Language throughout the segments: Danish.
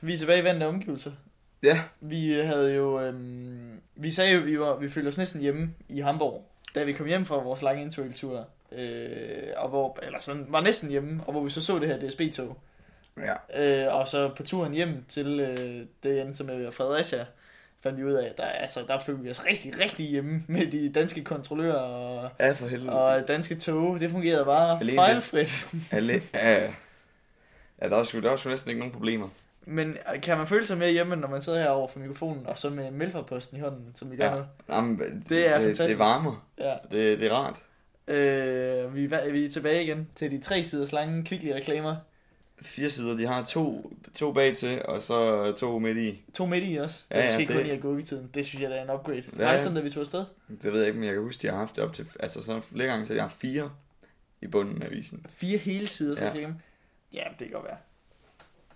Vi er tilbage i vandende omgivelser. Ja. Vi øh, havde jo... Øhm, vi sagde jo, vi, var, vi følte os næsten hjemme i Hamburg, da vi kom hjem fra vores lange interrail-tur. Øh, og hvor, eller sådan, var næsten hjemme, og hvor vi så så det her DSB-tog. Ja. Øh, og så på turen hjem til øh, det endte som er Fredericia, fandt vi ud af, at der, altså, der følte vi os rigtig, rigtig hjemme med de danske kontrollører og, Ja, for helvede. og danske tog. Det fungerede bare Alene det. fejlfrit. Alle, ja. ja, der var, sgu, der var sgu næsten ikke nogen problemer. Men kan man føle sig mere hjemme, når man sidder herovre for mikrofonen, og så med mælferposten i hånden, som vi gør Ja. ja. nu? Jamen, Det er det, det fantastisk. varmer. Ja. Det, det er rart. Øh, vi, er, vi er tilbage igen til de tre siders lange, kviklige reklamer. Fire sider, de har to, to bag til, og så to midt i. To midt i også. Det Ja, er ja, måske det- kun i agurketiden. Det synes jeg, der er en upgrade. Ja, Ja, ja. Rejsen, da vi tog afsted. Det ved jeg ikke, men jeg kan huske, de har haft det op til... Altså, så flere gange, så jeg har haft fire i bunden af avisen. Fire hele siders Ja. ja. reklame. Ja, det kan godt være.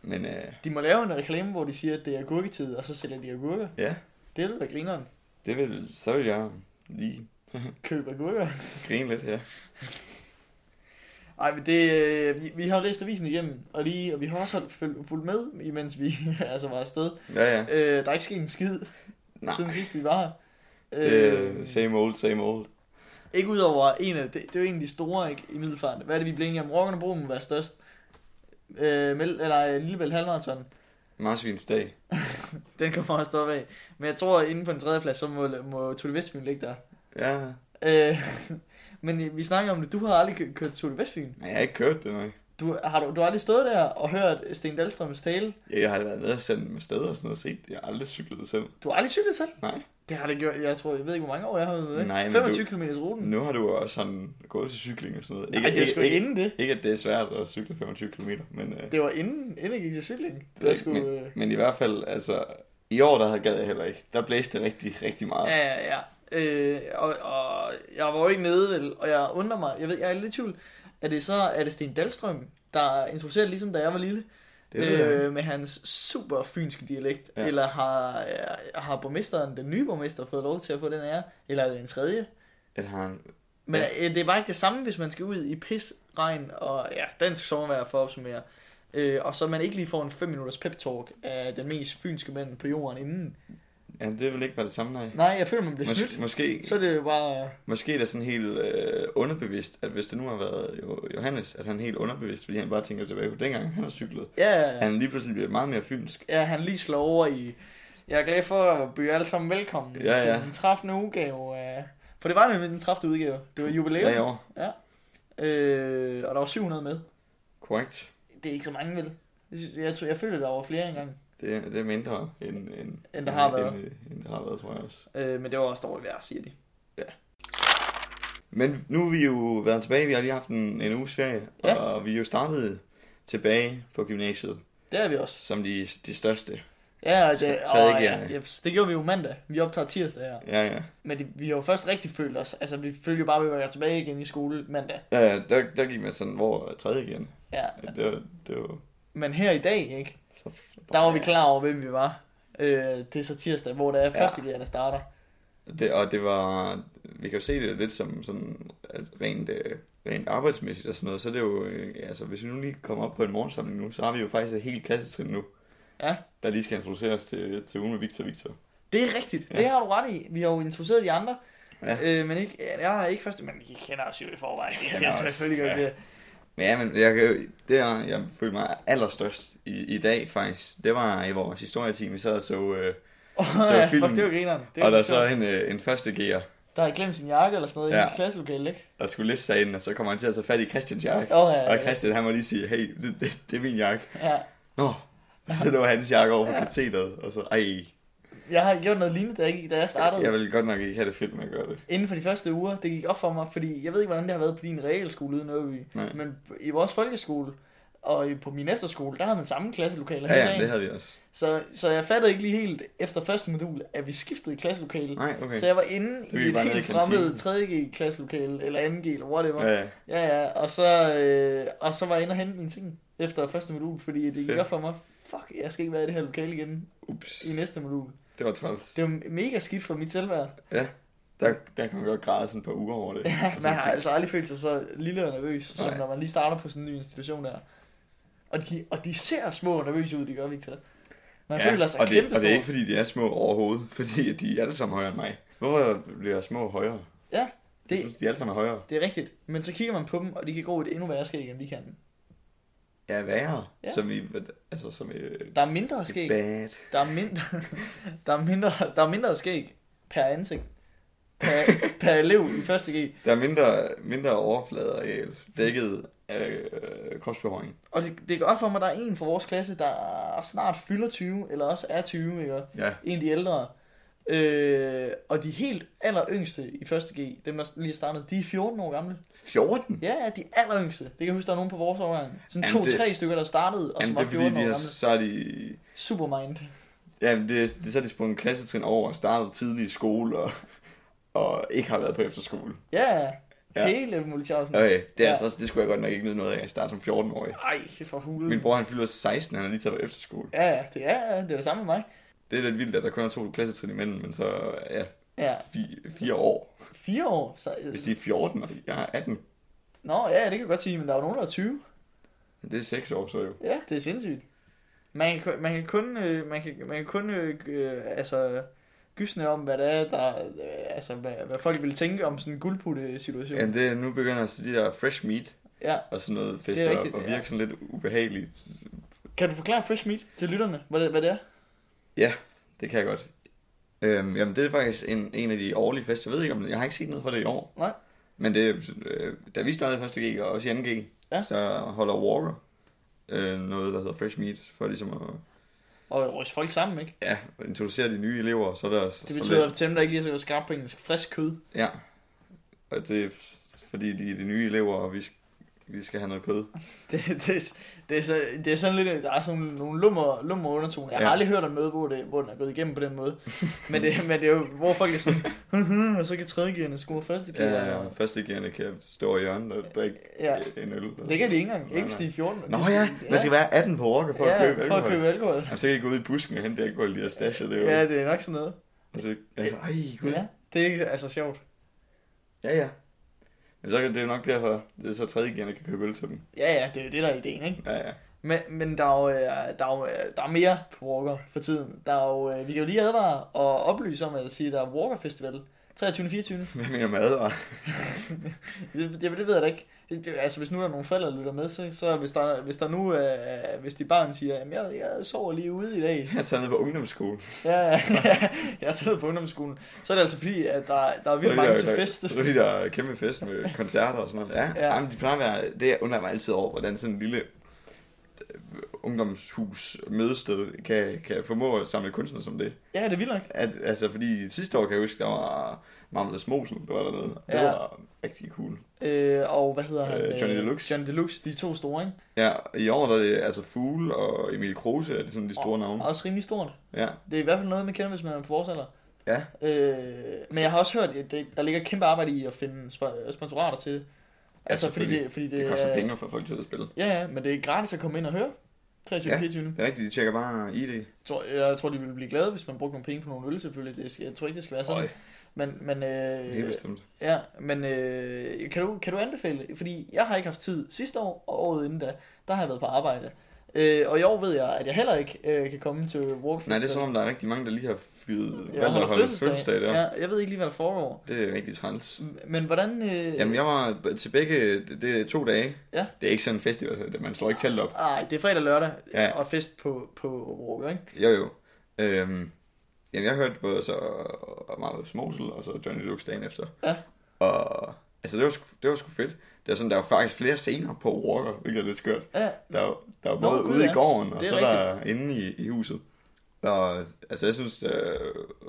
Men øh, De må lave en reklame, hvor de siger, at det er agurketid, og så sælger de agurker. ja, Det er da grineren. det vil, så vil jeg lige Køb agurker. grine lidt, ja. Ej, men det, øh, vi, vi har jo læst avisen igennem, og, lige, og vi har også holdt føl- fulgt med, imens vi altså var afsted. Ja, ja. Øh, der er ikke sket en skid, Nej, siden sidst vi var her. Øh. det er same old, same old. Ikke udover en af, det, det er jo en af de store ikke, i middelfart. Hvad er det, vi blev enige om? Rokken og Broen må være størst. Øh, Mel, eller øh, Lillebælt Halvmarathon. Marsvins dag. Den kommer også deroppe af. Men jeg tror, at inde på en tredje plads, så må, må Tour de Vestfyn ligge der. Ja, Øh, men øh, vi snakker om det. Du har aldrig kø- kørt Tour de Vestfyn. men jeg har ikke kørt det, nej. Du har, du, du har aldrig stået der og hørt Sten Dahlstrøms tale. Jeg har da været nede og sendt med sted og sådan noget og set det. Jeg har aldrig cyklet det selv. Du har aldrig cyklet selv. Nej. Det har det gjort. Jeg tror, jeg ved ikke, hvor mange år jeg har været Nej, med. men 25 km ruten. Nu har du også sådan gået til cykling og sådan noget. Nej, det er sgu ikke, inden det. ikke, at det er svært at cykle 25 km, men, øh, Det var inden, inden jeg gik til cykling. Det er var ikke sgu... min- øh, men i hvert fald, altså, i år der gad jeg heller ikke. Der blæste det rigtig, rigtig meget. Ja, ja, ja. Øh, og, og jeg var jo ikke nede, vel, og jeg undrer mig, jeg ved, jeg er lidt i tvivl, er det så, er det Sten Dahlstrøm, der introducerer det, ligesom da jeg var lille, Det ved jeg øh, med hans super fynske dialekt, Ja. ja. eller har, øh, har borgmesteren, den nye borgmester, fået lov til at få den ære, eller er det en tredje? At han, Men Ja. ja. øh, det er bare ikke det samme, hvis man skal ud i pis, regn og ja, dansk sommervejr for at opsummere. Øh, og så man ikke lige får en 5 minutters pep talk af den mest fynske mand på jorden inden. ja, det vil ikke være det samme, nej. Nej, jeg føler, man bliver Mås- snydt. måske, Så er det jo bare... måske er det sådan helt øh, underbevidst, at hvis det nu har været jo, Johannes, at han er helt underbevidst, fordi han bare tænker tilbage på dengang, han har cyklet. Ja, ja, ja. Han lige pludselig bliver meget mere fynsk. Ja, han lige slår over i... Jeg er glad for at byde jer alle sammen velkommen Ja, ja, til ja. ja. den træffende udgave af... For det var nemlig den træffende udgave. Det var jubilæum. Ja, i år. Øh, og der var 700 med. Korrekt. Det er ikke så mange, vel? Jeg, synes- jeg, tror- jeg følte, der var flere engang. Det er, det er mindre, end, end, End der har været. End, øh, end der har været, tror jeg også. Øh, men det var også dårligt vejr, siger de. Men nu er vi jo været tilbage, vi har lige haft en, en uges ferie, ja. Ja. og vi er jo startet tilbage på gymnasiet, Det er vi også. som de, de største. Ja, Så det, tredje åh, gear, ja. ja, jeps, det gjorde vi jo mandag. Vi optager tirsdag her. Ja, ja. Men det, vi har jo først rigtig følt os. Altså, vi følte jo bare, at vi var tilbage igen i skole mandag. ja ja, der, der gik man sådan, hvor er tredje igen. Ja. Det var, det var Men her i dag, ikke? så... f- Der var vi klar over, hvem vi var. Øh, det er så tirsdag, hvor det er første gear, der starter. Det, og det var, vi kan jo se det lidt som sådan, altså rent, øh, rent arbejdsmæssigt og sådan noget, så er det jo, øh, altså hvis vi nu lige kommer op på en morgensamling nu, så har vi jo faktisk et helt klassetrin nu, Ja. der lige skal introduceres til, til ugen med Victor Victor. Det er rigtigt. Ja. Ja. Det har du ret i. Vi har jo introduceret de andre. Ja. Ja. Øh, men ikke, jeg er ikke første, men I kender os jo i forvejen. I Det kender er os. selvfølgelig godt. Ja. Ja. Ja, men jeg, kan jo- det, er, jeg følte mig allerstørst i, i dag faktisk, det var i vores historietime, vi sad og så, øh, Oh, Så ja, filmen. fuck, det var grineren. Det og var der der, så en, øh, en første gear, der har glemt sin jakke eller sådan noget Ja. ja. i klasselokalet, ikke? der skulle liste sig ind, og så kommer han til at tage fat i Christians jakke. Åh, ja, ja, og ja. Christian, han må lige sige, hey, det, det, det er min jakke. Ja. Nå, og så lå hans jakke over på katheteret, og så, ej, Jeg har gjort noget lignende, da jeg, gik- da jeg startede. jeg ville godt nok ikke have det fedt med at gøre det. Inden for de første uger, det gik op for mig, fordi jeg ved ikke, hvordan det har været på din realskole ude i Nørreby. Nej. Men i vores folkeskole og i- på min efterskole, der havde man samme klasselokale Ja, hele ja, dagen. det havde vi også. Så, så jeg fattede ikke lige helt efter første modul, at vi skiftede klasselokale. Nej, okay. Så jeg var inde gik i et bare ned i helt kantinen. fremmed 3.G klasselokale, eller 2.G, eller whatever. Ja, Ja, ja. ja, ja. Og, så, øh, og så var jeg inde og hente mine ting efter første modul, fordi det gik Fedt. op for mig, fuck, jeg skal ikke være i det her lokale igen ups, i næste modul. det var træls. Det var mega skidt for mit selvværd. Der, der kan man godt græde sådan et par uger over det. Og Ja, sådan man har tænke, altså aldrig følt sig så lille og nervøs, som Nej. når man lige starter på sådan en ny institution der. Og de, og de ser små og nervøse ud, de gør, Victor. Man ja, føler sig og det, kæmpestor. og det er ikke fordi, de er små overhovedet, fordi at de er alle sammen højere end mig. Hvorfor bliver små højere? Ja, Jeg det, synes, de alle sammen er højere. det er rigtigt. Men så kigger man på dem, og de kan gro et endnu værre skæg, end vi kan. Ja, værre. Ja. Ja. Som i, altså som i, Der er mindre skæg. bad. Der er mindre, der er mindre, der er mindre skæg per ansigt. Per, per elev i første G. Der er mindre, mindre overflader øh, dækket af øh, kropsbehåring. Og det, det går op for mig, at der er en fra vores klasse, der snart fylder 20, eller også er 20, ikke? Ja. En af de ældre. Øh, og de helt aller yngste i 1. G, dem der lige startede, de er 14 år gamle. 14? Ja, ja, de aller yngste. Det kan jeg huske, der er nogen på vores årgang. Sådan Jamen, det- to-tre stykker, der startede, og Jamen, som var det er fordi, 14 år de er, gamle. så er de... Supermind. Jamen, det, er- det, er så er de sprunget en klassetrin over og startet tidlig i skole og, og ikke har været på efterskole. Ja, ja. Ja. hele Multichausen. Okay, det, er Ja. ja. altså, også- det skulle jeg godt nok ikke nyde noget af at starte som 14-årig. Ej, for hulen. Min bror han fylder 16, han har lige taget på efterskole. Ja, ja, det er, ja, det er det samme med mig. Det er lidt vildt, at der kun er to klassetrin imellem, men så ja, Ja, fi, fire år. fire år. Så, øh, Hvis de er 14, og jeg er 18, Nå, ja, det kan jeg godt sige, men der er jo nogen, der er 20. det er 6 år så jo. Ja, det er sindssygt. Man kan, man kan kun, øh, man kan, man kan kun øh, øh, altså, gysne om, hvad det er, der, øh, altså, hvad, hvad folk ville tænke om sådan en guldputte-situation. Jamen, det, er- nu begynder altså de der fresh meat Ja. og sådan noget fester rigtigt, rigtigt, og ja. virker sådan lidt ubehageligt. Kan du forklare fresh meat til lytterne, hvad det, hvad det er? Det kan jeg godt. Øhm, jamen, det er faktisk en, en af de årlige fester. Jeg ved ikke, om jeg har ikke set noget fra det i år. Nej. Men det, øh, da vi startede i 1. G og også i 2. G, Ja. så holder Walker øh, noget, der hedder Fresh Meat, for ligesom at Og ryste folk sammen, ikke? ja, introducere de nye elever. Så er der, så Det betyder, at til dem, der ikke lige er så godt skarp på engelsk, frisk kød. Ja. Og det er f- fordi, de er de nye elever, og vi, sk- vi skal have noget kød. Det, det, er- det, er, så, det er sådan lidt, der er sådan nogle lummer, lummer undertoner. Jeg har Ja. aldrig hørt om noget, hvor, det, hvor den er gået igennem på den måde. men, det, men det er jo, hvor folk er sådan, og så kan tredjegerne score første gear. Ja, og førstegerne kan stå i hjørnet og drikke ja. en øl. eller Det kan de ikke engang. Nej, Ikke nej. Stig 14. Nå ja, man skal være 18 på Orca for at købe for alkohol. at købe alkohol. Og så kan I gå ud i busken og hente alkohol lige og stashe det. Ja, Ja. det er nok sådan noget. Og så, altså, ej, gud. Ja, det er ikke- altså sjovt. Ja, ja. Men så kan det er nok derfor, det er så tredje gerne kan købe øl til dem. Ja, ja, det er jo det, der er ideen, ikke? Ja, ja. Men, men der, er jo, øh, der, er jo, øh, der er mere på Walker for tiden. Der er jo, øh, vi kan jo lige advare og oplyse om at sige, at der er Walker Festival 23. 24. Hvad mener du med advarer? Det, det, det ved jeg da ikke. Det- det- Altså, hvis nu der er nogle forældre, der lytter med, så, så hvis, der, hvis der nu, øh, hvis de barn siger, at jeg, jeg sover lige ude i dag, Jeg er taget ned på ungdomsskole. ja, ja, jeg er taget på ungdomsskolen, så er det altså fordi, at der, der er vildt mange til fest. Så er de der kæmpe fest med koncerter og sådan noget. Ja, Ja. ja. Jamen, de plejer at være, det undrer jeg mig altid over, hvordan sådan en lille øh, ungdomshus mødested kan, kan formå at samle kunstnere som det. Ja, det er vildt nok. At, altså, fordi sidste år kan jeg huske, der var Marmelades Mosen, der var dernede. Det Ja. var rigtig cool. Øh, og hvad hedder han? Øh, Johnny Øh, Deluxe. Johnny Deluxe, de to store, ikke? Ja, i år der er det altså Fugle og Emil Kruse, er det sådan de store navne. Også rimelig stort. Ja. Det er i hvert fald noget, man kender, hvis man er på vores alder. Ja. Øh, men jeg har også hørt, at det, der ligger kæmpe arbejde i at finde spo- sponsorater til det. Altså, fordi selvfølgelig. det, fordi det, Det koster er- penge for folk til at spille. Ja, ja, men det er gratis at komme ind og høre. 23, Ja. 24. Det er rigtigt, de tjekker bare ID. tror, jeg tror, de ville blive glade, hvis man brugte nogle penge på nogle øl, selvfølgelig. Det, skal- jeg tror ikke, det skal være sådan. Øj, Øj. Men, men, helt øh, bestemt. ja, men øh, kan, du, kan du anbefale? Fordi jeg har ikke haft tid sidste år, og året inden da, der har jeg været på arbejde. Øh, og i år ved jeg, at jeg heller ikke øh, kan komme til Walkfest. Nej, det er som om, der er rigtig mange, der lige har fyret jeg valgt holder at holde fødselsdag der. Ja, jeg ved ikke lige, hvad der foregår. Det er rigtig træls. Men hvordan... Øh, Jamen, jeg var b- til begge, det, det er to dage. Ja. Det er ikke sådan en festival, det- man slår ikke telt op. Ej, det er fredag og lørdag, Ja. og fest på, på Walker, ikke? Jo, jo. Øhm, jamen, jeg hørte både så Marcus Mosel og så Johnny Deluxe dagen efter. Ja. Og altså, det var, sgu- det var sgu fedt. Det er sådan, der er jo faktisk flere scener på Walker, hvilket er lidt skørt. Ja, Der er, jo- der er jo Nå, både gud, ude ja. i gården, og Det er så er der inde i, i huset. Og altså, jeg synes, øh,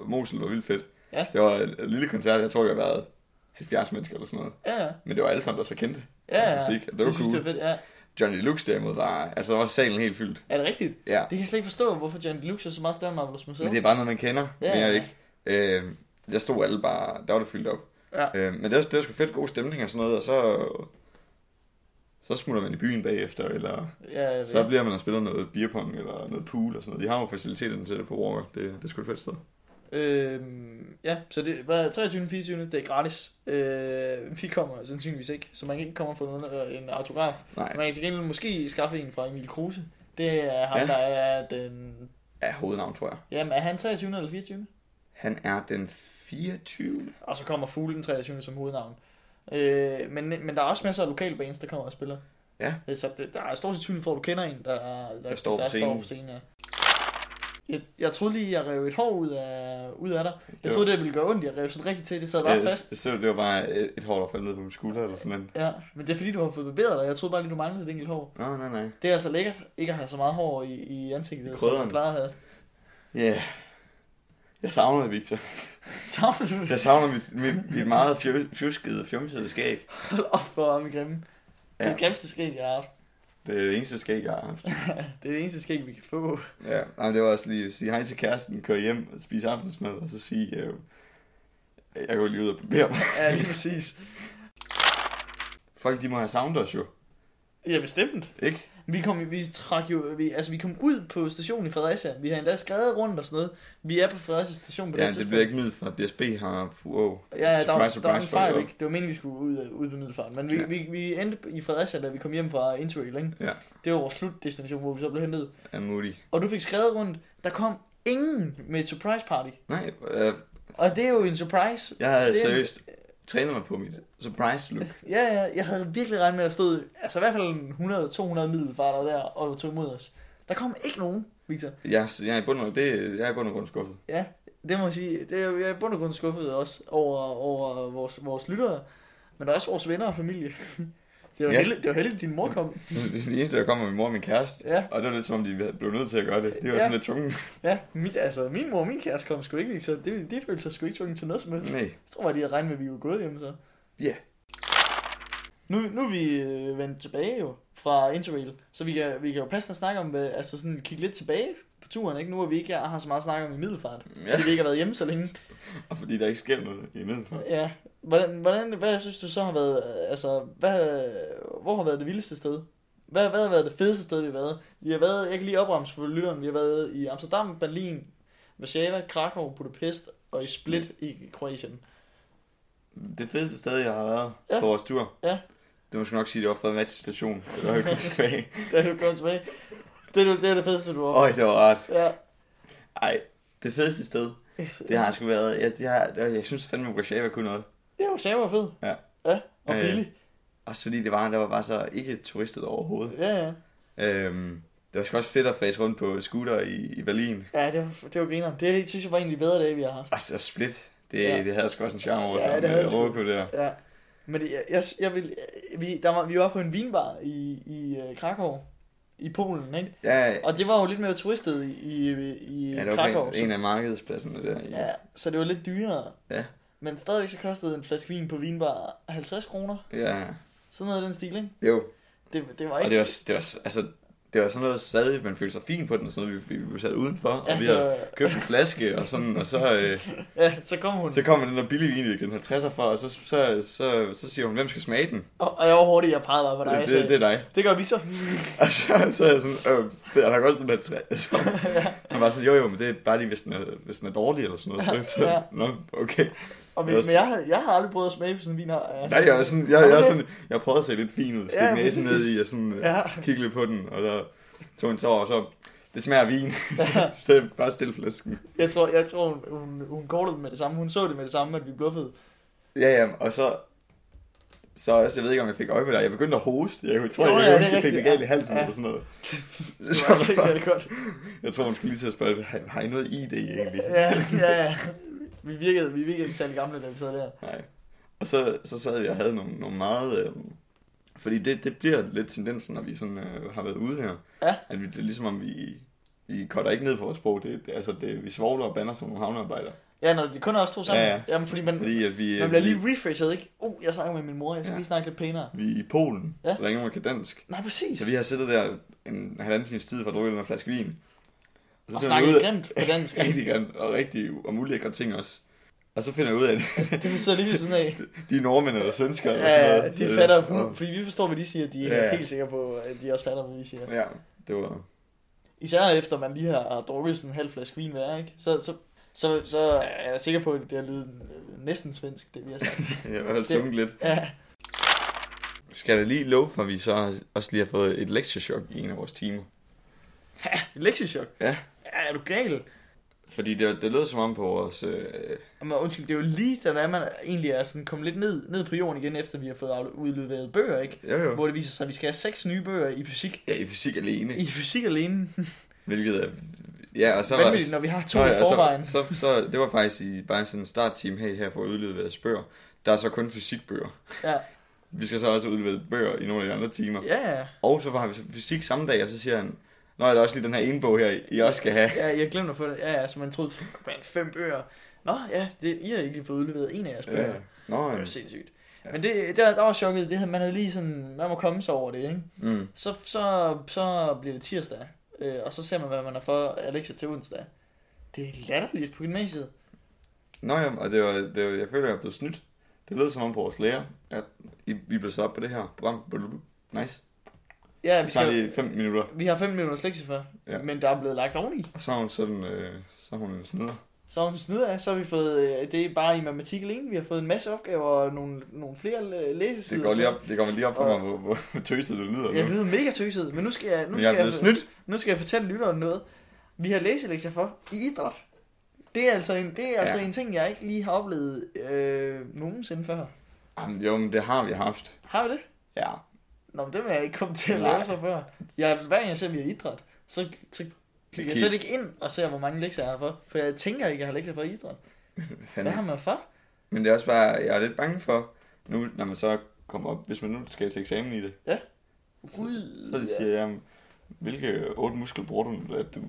Mosel var vildt fedt. Ja. Det var en, en lille koncert, jeg tror, jeg har været 70 mennesker eller sådan noget. ja, ja. Men det var alle sammen, der så kendte. ja, Hans musik, ja. det var Det, synes cool. jeg er fedt, ja. Johnny Deluxe derimod var, altså der var salen helt fyldt. Er det rigtigt? Ja. Det kan jeg slet ikke forstå, hvorfor John Deluxe er så meget større end Marvelous Museum. Men det er bare noget, man kender, Ja, ja, mere ja. ikke. Øh, der stod alle bare, der var det fyldt op. Ja. Øh, men det var, det var sgu fedt, god stemning og sådan noget, og så, så smutter man i byen bagefter, eller Ja, jeg så så... bliver man og spiller noget beerpong, eller noget pool og sådan noget. De har jo faciliteterne til det på Walker, det, det er sgu et fedt sted. Øhm, ja, så det var 23. 24. Det er gratis. Øh, vi kommer sandsynligvis ikke, så man kan ikke komme og få noget, øh, en autograf. Nej, Man kan til gengæld måske skaffe en fra Emil Kruse. Det er ham, ja. Ja. der er den af hovednavn, tror jeg. Jamen, er han 23. eller 24. Han er den 24. Og så kommer Fugle den 23. som hovednavn. Øh, men, men der er også masser af lokale bands, der kommer og spiller. Ja. Øh, Så det, der er stor sandsynlighed for, at du kender en, der, der, Der står på der scenen. Står på scenen ja. jeg, jeg troede lige, jeg rev et hår ud af, ud af dig. var- Jeg troede, det ville gøre ondt, jeg rev sådan rigtig til. Det sad bare Øh, fast. Jeg så, det var bare et et hår, der faldt ned på min skulder eller sådan noget. Ja, men det er fordi, du har fået barberet dig. Jeg troede bare lige, du manglede et enkelt hår. Nå, nej, nej. Det er altså lækkert, ikke at have så meget hår i, i ansigtet, som krydderen. man plejer at have. Ja. Yeah. Jeg savner dig, Victor. Savner du det? Jeg savner mit, mit, mit meget fjø- fjuskede, fjumsede skæg. Hold op, hvor er vi grimme. Det er Ja. det grimmeste skæg, jeg har haft. Det er det eneste skæg, jeg har haft. Det er det eneste skæg, vi kan få. Ja, nej, men det var også lige at sige hej til kæresten, køre hjem og spise aftensmad, og så sige, øh, jeg går lige ud og barbere mig. Ja, lige præcis. Folk, de må have savnet os jo, Ja, bestemt. ikke? Vi kom, vi trak jo, vi, altså vi kom ud på stationen i Fredericia. Vi har endda skrevet rundt og sådan noget. Vi er på Fredericia station på Ja, det det tidspunkt. bliver ikke midt for, DSB har, wow, Ja, ja, der, var, surprise, der var en surprise, folk fejl, er ikke? Det var meningen, vi skulle ud, ud på Middelfart. Men vi, Ja. ja. vi, vi endte i Fredericia, da vi kom hjem fra Interrail, ikke? Ja. Det var vores slutdestination, hvor vi så blev hentet. af Moody. Og du fik skrevet rundt, der kom ingen med et surprise party. Nej, øh, Og det er jo en surprise. jeg havde Det er- seriøst trænet mig på mit surprise look. Ja, ja, jeg havde virkelig regnet med, at der stod altså i hvert fald 100-200 middelfarter der og tog imod os. Der kom ikke nogen, Victor. Jeg, er- jeg er i bund og grund, det, jeg er i bund og grund skuffet. Ja, det må jeg sige. Det er, jeg er i bund og grund skuffet også over, over vores, vores lyttere, men også vores venner og familie. Det var, Ja. ja. heldigt, det var heldigt, at din mor kom. Det er det eneste, der kommer min mor og min kæreste. Ja. Og det var lidt som om, de blev nødt til at gøre det. Det var Ja. sådan lidt tvunget. Ja, mit, altså, min mor og min kæreste kom sgu ikke, Victor. Det, de følte sig sgu ikke tvunget til noget som helst. Nej. Jeg tror bare, de havde regnet med, at vi var gået hjem så. Ja. Nu, nu er vi øh, vendt tilbage jo fra Interrail, så vi kan, vi kan jo passende snakke om, hvad- altså sådan kigge lidt tilbage på turen, ikke? Nu hvor vi ikke har så meget snak om i middelfart, Ja. ja. fordi vi ikke har været hjemme så længe. Og fordi der ikke sker noget i middelfart. Ja. Hvordan, hvordan, hvad synes du så har været, øh, altså, hvad, hvor har været det vildeste sted? Hvad, hvad har været det fedeste sted, vi har været? Vi har været, jeg kan lige opremse for lytteren, vi har været i Amsterdam, Berlin, Warszawa, Krakow, Budapest og i Split i Kroatien. Det fedeste sted, jeg har været Ja. på vores tur. Ja. Det må jeg sgu nok sige, det var Fredericia station. Det var jo ikke tilbage. Da du kom tilbage. Det er, det er det fedeste, du har. Øj, det var rart. Ja. Ej, det fedeste sted, det har sgu været. Jeg, jeg, jeg, jeg synes fandme, at Warszawa kunne noget. Ja, Warszawa var fed. Ja. Ja, og Øh. billig. Også fordi det var, der var bare så ikke turistet overhovedet. Ja, ja. Øhm, det var sgu også fedt at fræse rundt på scooter i, i Berlin. Altså, Ja, det var, det var griner. Det synes jeg var en af de bedre dage, vi har haft. Og så split. Det, ja. Ja. det havde sgu også en charme over Ja, sammen det havde med det sgu. Roku der. Ja. Men jeg, jeg, jeg vil, vi, der var, vi var på en vinbar i, i øh, Krakow, i Polen, ikke? Ja, Og det var jo lidt mere turistet i, i, i ja, ja, det var Krakow. på en, en af markedspladserne der. i- så, ja, så det var lidt dyrere. Ja. Men stadigvæk så kostede en flaske vin på vinbar 50 kroner. ja. Sådan noget i den stil, ikke? Jo, Det, det var og ikke... det var, det var, altså, det var sådan noget stadig, man følte sig fin på den, og sådan noget, vi, vi blev sat udenfor, ja, ja, og vi det havde var, købt en flaske, og sådan, og så, øh, ja, så kom hun. så kom den der billige vin, vi gav den 50'er for, og så, så, så, så siger hun, hvem skal smage den? Og, og jeg var hurtig, jeg pegede bare på dig. det, Det, sagde, det, det, det, er dig. det gør vi så. Og så, så er jeg sådan, øh, det er nok også den der træ. Så, han var sådan, jo jo, men det er bare lige, hvis den er, hvis den er dårlig eller sådan noget. Så, så, Ja. Nå, okay. Og men, Det var men jeg, havde, jeg havde aldrig prøvet at smage på sådan en vin her. Altså, Nej, jeg, var sådan, jeg, jeg, var Okay. sådan, jeg prøvede at se lidt fin ud, stikke Ja, næsen ned præcis. i, og sådan, øh, Ja, kigge lidt på den, og så tog en tår, og så, det smager af vin. så, så bare stille flasken. jeg tror, jeg tror hun, hun, hun kortede det med det samme. Hun så det med det samme, at vi bluffede. Ja, ja, og så... Så også, jeg ved ikke, om jeg fik øje på dig. Jeg begyndte at hoste. Jeg tror, Nå, jeg, ja, det jeg er måske fik det rigtigt, galt i ja. halsen ja. Ja. eller sådan noget. Det var altså ikke særlig godt. jeg tror, hun skulle lige til at spørge, har har I noget ID egentlig? Ja, ja, ja. Vi virkede, vi virkede ikke særlig gamle, da vi sad der. Nej. Og så, så sad jeg og havde nogle, nogle meget... Øh, fordi det, det bliver lidt tendensen, når vi sådan, øh, har været ude her. Ja. At vi, det er ligesom om, vi, vi cutter ikke ned på vores sprog. Det, det, altså, det, vi svogler og bander som nogle havnearbejdere. Ja, når de kun er os to sammen. Ja, Ja, ja. ja. Jamen, fordi man, fordi, Fordi at vi, man bliver vi, lige refreshed, ikke? Uh, jeg snakker med min mor, jeg skal Ja. ja. lige snakke lidt pænere. vi er i Polen, ja. Ja. så der er ingen, der kan dansk. Nej, præcis. Så vi har siddet der en halvanden times tid for at drikke den her flaske vin. så og finder snakke vi ud af- grimt på dansk. rigtig grimt og rigtig om ulækre ting også. Og så finder jeg ud af, at Altså, det vi sidder lige ved siden af. de er nordmænd eller svensker. eller sådan Ja, noget. de Så- fatter, så- fordi vi forstår, hvad de siger. De er Ja, ja. ja. helt sikre på, at de også fatter, hvad vi siger. Ja, det var... Især efter man lige har drukket sådan en halv flaske vin hver, ikke? Så, så, så, så er jeg sikker på, at det har lydet næsten svensk, det vi har sagt. Jeg har sunget lidt. Ja, Skal jeg lige love for, at vi så også lige har fået et lektiechok i en af vores timer? lektiechok. Ja. Ja, er du gal? Fordi det, det lød som om på vores... Øh, Men undskyld, det er jo lige da der er, man egentlig er sådan kommet lidt ned, ned på jorden igen, efter vi har fået afle- udleveret bøger, ikke? jo, jo. Hvor det viser sig, at vi skal have seks nye bøger i fysik. Ja, i fysik alene. I fysik alene. Hvilket er... Ja, og så var Vanvittigt, når vi har to Nå i ja, forvejen. altså, Så, så, så, det var faktisk i bare sådan en startteam hey, her for at udlede deres bøger. Der er så kun fysikbøger. Ja, Vi skal så også udlede bøger i nogle af de andre timer. ja, ja. Og så har vi så fysik samme dag, og så siger han, Nå, der er også lige den her ene bog her, I også skal have. Ja, jeg glemte at få det. Ja, ja, så man troede, man fem bøger. Nå, ja, det, I har ikke fået udleveret en af jeres bøger. Ja. Ja. Nå, Det ja. var sindssygt. Ja. Men det, der, der var chokket, det havde, man havde lige sådan, man må komme sig over det, ikke? Mm. Så, så, så bliver det tirsdag, øh, og så ser man, hvad man har for Alexa til onsdag. Det er latterligt på gymnasiet. Nå ja, og det var, det var, jeg føler, jeg er blevet snydt. Det lød som om på vores lærer, at I, I blev sat op på det her program. Blablabla. Nice. Ja, vi, Det tager skal, lige 15 minutter. vi har 5 minutters lektie for, Ja. ja. men der er blevet lagt oveni. Og så er hun sådan, øh, så er hun en snyder. Så hun snyder af, så har vi fået, øh, det er bare i matematik alene, vi har fået en masse opgaver og nogle, nogle flere øh, læsesider. Det går lige Så- op, det går lige op for mig, Og- hvor, hvor, hvor tøset det lyder. Jeg nu. lyder mega tøset, men nu skal jeg, nu Men skal jeg er blevet for- snydt. Nu skal jeg fortælle lytteren noget. Vi har læselektier for idræt. Det er altså en, det er ja. altså en ting, jeg ikke lige har oplevet øh, nogensinde før. Jamen, jo, men det har vi haft. Har vi det? Ja. Nå, men det vil jeg ikke komme til at Nej. lave så før. Jeg, hver gang jeg ser, at vi har idræt, så, så klikker jeg Kig. slet ikke ind og ser, hvor mange lektier jeg har for. For jeg tænker ikke, at jeg har lektier for idræt. Hvad har Fanden. man for? Men det er også bare, jeg er lidt bange for, nu, når man så kommer op, hvis man nu skal til eksamen i det, Gud. så de ja. siger, jamen, hvilke otte muskler bruger du, nu, at du...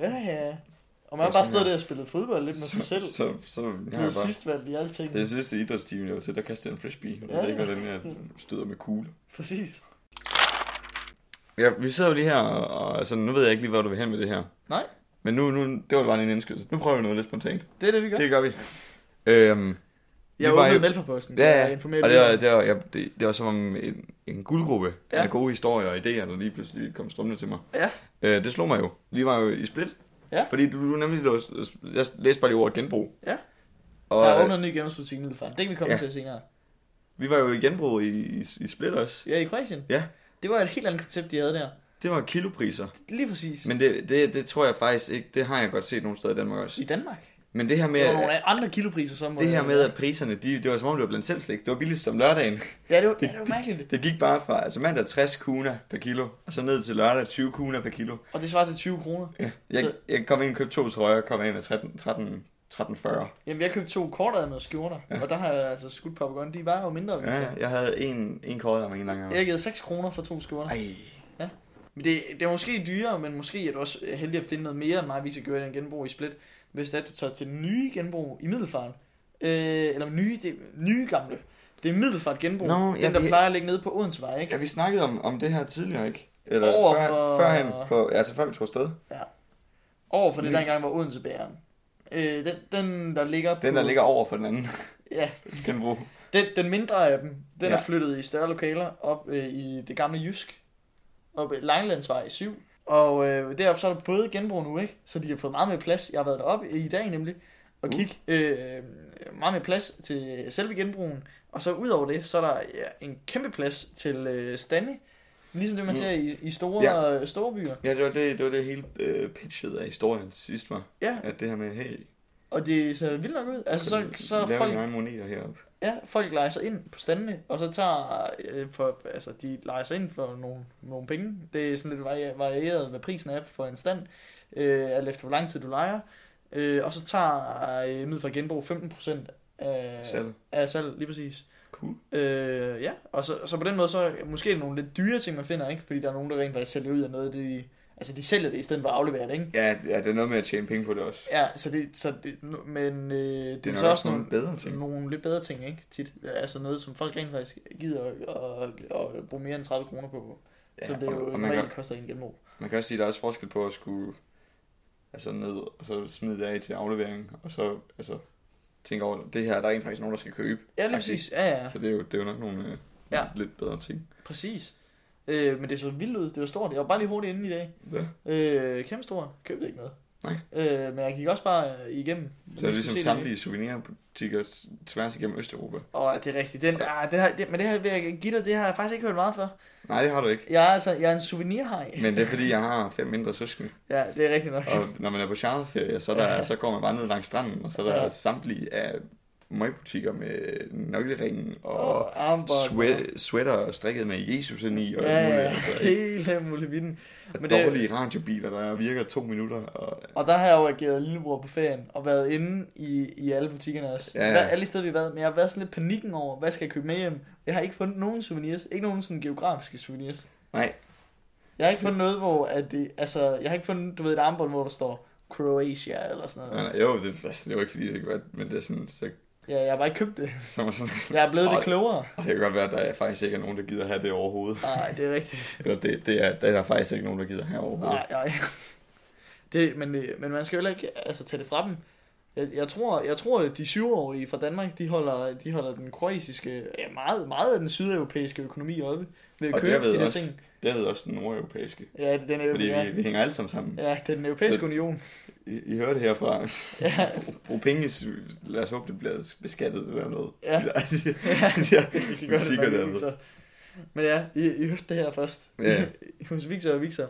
Ja, ja. Og Det man er har bare sådan stået her. der og spillet fodbold lidt med sig selv. Så, så, så jeg har Det er jeg bare... sidst valgt i alting. Det er sidste idrætstime, jeg var til, der kastede jeg en frisbee. og Jeg Ja, ved ikke, ja. hvordan jeg støder med kugle. Præcis. Ja, vi sidder jo lige her, og altså, nu ved jeg ikke lige, hvor du vil hen med det her. Nej. Men nu, nu det var bare lige en indskydelse. Nu prøver vi noget lidt spontant. Det er det, vi gør. Det gør vi. Øhm, Jeg Vi var åbnede jo- Mælferposten. Ja, ja. Jeg informerer Og det var, lytteren. det, var, ja, det, det var som om en, en guldgruppe ja. Ja. af gode historier og idéer, der lige pludselig kom strømmende til mig. Ja. Øh, det slog mig jo. Vi var jo i split. Ja. Fordi du, du nemlig... Du, jeg læste bare lige ordet genbrug. Ja. Og Der er øh, åbnet en ny genbrugsbutik i Middelfart. Det kan vi komme Ja. ja. til senere. vi var jo i genbrug i, i, i split også. Ja, i Kroatien. Ja. Det var et helt andet koncept, de havde der. Det var kilopriser. Lige præcis. Men... Men det, det, det tror jeg faktisk ikke. Det har jeg godt set nogle steder i Danmark også. I Danmark. Men det her med... Det var nogle andre kilopriser, som Det her med, at priserne, de, det var som om, det var blandt selv slik. Det var billigst som lørdagen. Ja, det var, ja, det var mærkeligt. Det gik bare fra altså mandag 60 kuna per kilo, og så ned til lørdag 20 kuna per kilo. Og det svarer til 20 kroner. Ja, jeg, Så- jeg kom ind og købte to trøjer, kom ind med 13, 13, 1340. Jamen, jeg købte to kortadmede skjorter, ja. og der har jeg altså skudt papagøjen. De var jo mindre, vil jeg Ja, sige. jeg havde en, en kort om en lang gang. Jeg gav 6 kroner for to skjorter. Ej, Men Det, det er måske dyrere, men måske er du også heldig at finde noget mere, end mig, vi skal gøre i den genbrug i Split. Hvis det er, at du tager til den nye genbrug i Middelfart. Øh, eller nye, det, nye gamle. Det er Middelfart genbrug. Nå, den, ja, der vi- plejer at ligge nede på Odensvej, ikke? ja, vi snakkede om, om det her tidligere, ikke? Eller Over før, for- førhen, på, altså før vi tog afsted. Over for det, Ny- der engang var Odensebæren. Øh, den, den, der ligger på, Den, der ligger over for den anden, Ja, kan bruge. den, den mindre af dem, den Ja. ja. er flyttet i større lokaler op øh, i det gamle Jysk. Op i Langelandsvej 7. Og øh, deroppe så er der både genbrug nu, ikke? Så de har fået meget mere plads. Jeg har været deroppe i dag nemlig og Uh. kigge øh, meget mere plads til selve genbrugen. Og så ud over det, så er der ja, en kæmpe plads til øh, stande. Ligesom det, man Mm. ser i, i store, ja. store byer. Ja, det var det, det, var det hele øh, pitchet af historien sidst var. Ja, At det her med, hey, og det ser vildt nok ud. Altså, så, kunne så lave er folk mine egne moneter heroppe. Ja, folk leger sig ind på standene, og så tager, øh, for, altså de leger sig ind for nogle, nogle penge. Det er sådan lidt vari- varieret, hvad prisen er for en stand, øh, alt efter hvor lang tid du leger. Øh, og så tager øh, Middelfart Genbrug 15% af, Selv. af salg, lige præcis. Cool. Øh, ja, og så, så på den måde, så måske er det nogle lidt dyre ting, man finder, ikke? Fordi der er nogen, der rent faktisk sælger ud af noget, af det, de, altså de sælger det i stedet for at aflevere det, ikke? Ja, ja, det er noget med at tjene penge på det også. Ja, så det, så det men øh, det, Det er er nok så også nogle, bedre til ting. nogle lidt bedre ting, ikke? Tit. Altså noget, som folk rent faktisk gider at, at, at bruge mere end 30 kroner på. Ja, så det er og- jo og man, normalt kan, godt... koster en genbrug. man kan også sige, at der er også forskel på at skulle altså ned og så smide det af til aflevering, og så altså, tænke over, det her, der er rent faktisk nogen, der skal købe. Ja, lige Faktisk. præcis. Ja, ja, Ja. ja. Så det er, jo, det er jo nok nogle øh, ja. Ja. lidt bedre ting. præcis. Øh, men det så vildt ud. Det var stort. Jeg var bare lige hurtigt inde i dag. Ja. Øh, kæmpe stort. Købte ikke noget. Nej. Øh, men jeg gik også bare øh, igennem. Så er det ligesom Se samtlige souvenirbutikker s- tværs igennem Østeuropa. Åh, det er rigtigt. Den, ah, den har, det, men det her vil jeg give dig, det har jeg faktisk ikke hørt meget for. Nej, det har du ikke. Jeg er altså, jeg er en souvenirhaj. Men det er fordi, jeg har fem mindre søskende. Ja, det er rigtigt nok. Og når man er på charterferie, så, er der, så går man bare ned langs stranden, og så er der samtlige af møgbutikker med nøgleringen og Og armbånd. swe- sweater strikket med Jesus ind i, og Ja, alt muligt, ja, altså, ikke? hele muligheden. Men dårlige radiobiler, der virker to minutter. Og, Og der har jeg jo ageret lillebror på ferien, og været inde i, i alle butikkerne også. Ja, ja. Ja. Hver, alle steder, vi har været, men jeg har været sådan lidt panikken over, hvad skal jeg købe med hjem? Jeg har ikke fundet nogen souvenirs, ikke nogen sådan geografiske souvenirs. nej, Jeg har ikke fundet noget, hvor at det, altså, jeg har ikke fundet, du ved, et armbånd, hvor der står Croatia eller sådan nej, noget. nej, jo, det, altså, det var ikke fordi, det kan være, men det er sådan, så, Ja, jeg har bare ikke købt det. så er man sådan, Jeg er blevet Ej. lidt klogere. og det kan godt være, at der faktisk ikke er nogen, der gider have det overhovedet. Nej, det er rigtigt. Eller det, det er, der er der faktisk ikke nogen, der gider have overhovedet. Nej, nej. Det, men, øh, men man skal jo heller ikke altså, tage det fra dem. Jeg, jeg, tror, jeg tror, at de syvårige fra Danmark, de holder, de holder den kroatiske, ja, meget, meget af den sydeuropæiske økonomi oppe ved at Og købe derved de der også- ting. Derved også den nordeuropæiske. Ja, det er den, Fordi ja, vi, vi hænger alle sammen sammen. ja, det er den europæiske Så- så... union. I, I hører det herfra. Ja, Brug penge, s- lad os håbe, det bliver beskattet eller noget. Ja. De der- de- ja, de der det kan godt butikker være, det er dernede. Victor. Men ja, I, I hørte det her først. Ja. Hos Victor og Victor.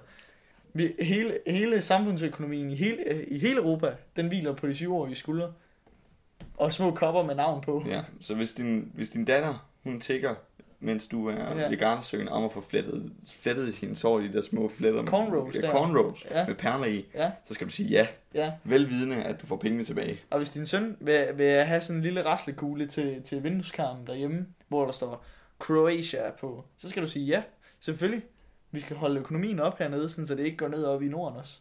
Vi, hele, hele samfundsøkonomien i hele, i hele Europa, den hviler på de syvårige skuldre. Og små kopper med navn på. Ja, så hvis din, hvis din datter, hun tigger, mens du er Ja. ja. i garnsøen om at få flettet, flettet hendes sår i de der små fletter. med- Cornrows ja, der. cornrows Ja. med perler i, Ja. så skal du sige ja. Ja, Velvidende, at du får pengene tilbage. og hvis din søn vil, vil have sådan en lille raslekugle til, til vindueskarmen derhjemme, hvor der står Croatia på, så skal du sige ja, selvfølgelig. Vi skal holde økonomien op hernede, sådan, så det ikke går ned op i Norden også.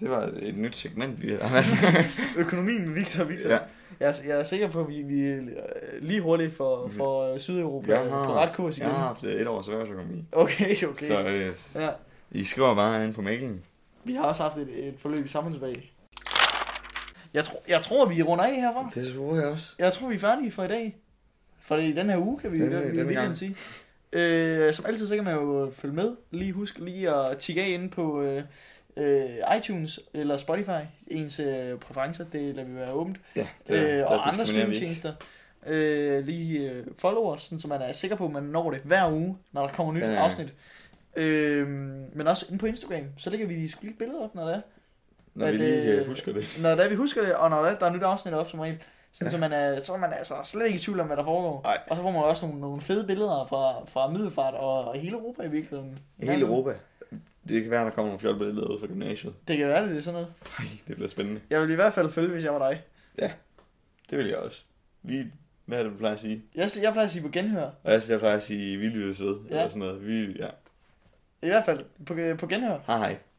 Det var et nyt segment, vi har. Økonomien med Victor og Victor. Ja. Ja. Jeg, er, jeg er sikker på, at vi, vi øh, lige hurtigt for, Mhm. for Sydeuropa Jeg på har, ret kurs igen. jeg har haft et års erhvervsøkonomi. Okay, Okay. okay. Så øh, Ja. I skriver bare ind på mailen. Vi har også haft et, et forløb i samfundsfag. Jeg, tro, jeg tror, vi runder af herfra. Det tror jeg også. Jeg tror, vi er færdige for i dag. For i den her uge, kan vi Denne- denne, denne denne gang. gang. sige. Øh, som altid, så kan man jo følge med. Lige husk lige at tjekke af inde på øh, øh, iTunes eller Spotify. Ens øh, præferencer, det lader vi være åbent. Ja, det, Øh, der og andre diskriminerer vi ikke. streamingtjenester. Øh, lige øh, follow os, sådan, så man er sikker på, at man når det hver uge, når der kommer nyt Ja, ja, ja. afsnit. Øh, men også inde på Instagram, så lægger vi sgu lige billeder op, når det er. Når vi at, lige øh, øh, husker det. Når det er, vi husker det, og når der, er- der er nyt afsnit op som regel, sådan, ja. Ja. så, man er, så er man altså slet ikke i tvivl om, hvad der foregår. Ej. Og så får man også nogle, nogle fede billeder fra, fra Middelfart og, og hele Europa i virkeligheden. Hele Europa. Det kan være, der kommer nogle fjolte billeder ud fra gymnasiet. Det kan være, det er sådan noget. Ej, det bliver spændende. Jeg vil i hvert fald følge, hvis jeg var dig. Det vil jeg også. Vi, hvad er det, du plejer at sige? Jeg, jeg plejer at sige på genhør. Og jeg, jeg plejer at sige, vi lyttes ved, ja. Ja. eller sådan noget. Vi, ja. I hvert fald på, på genhør. Hej hej.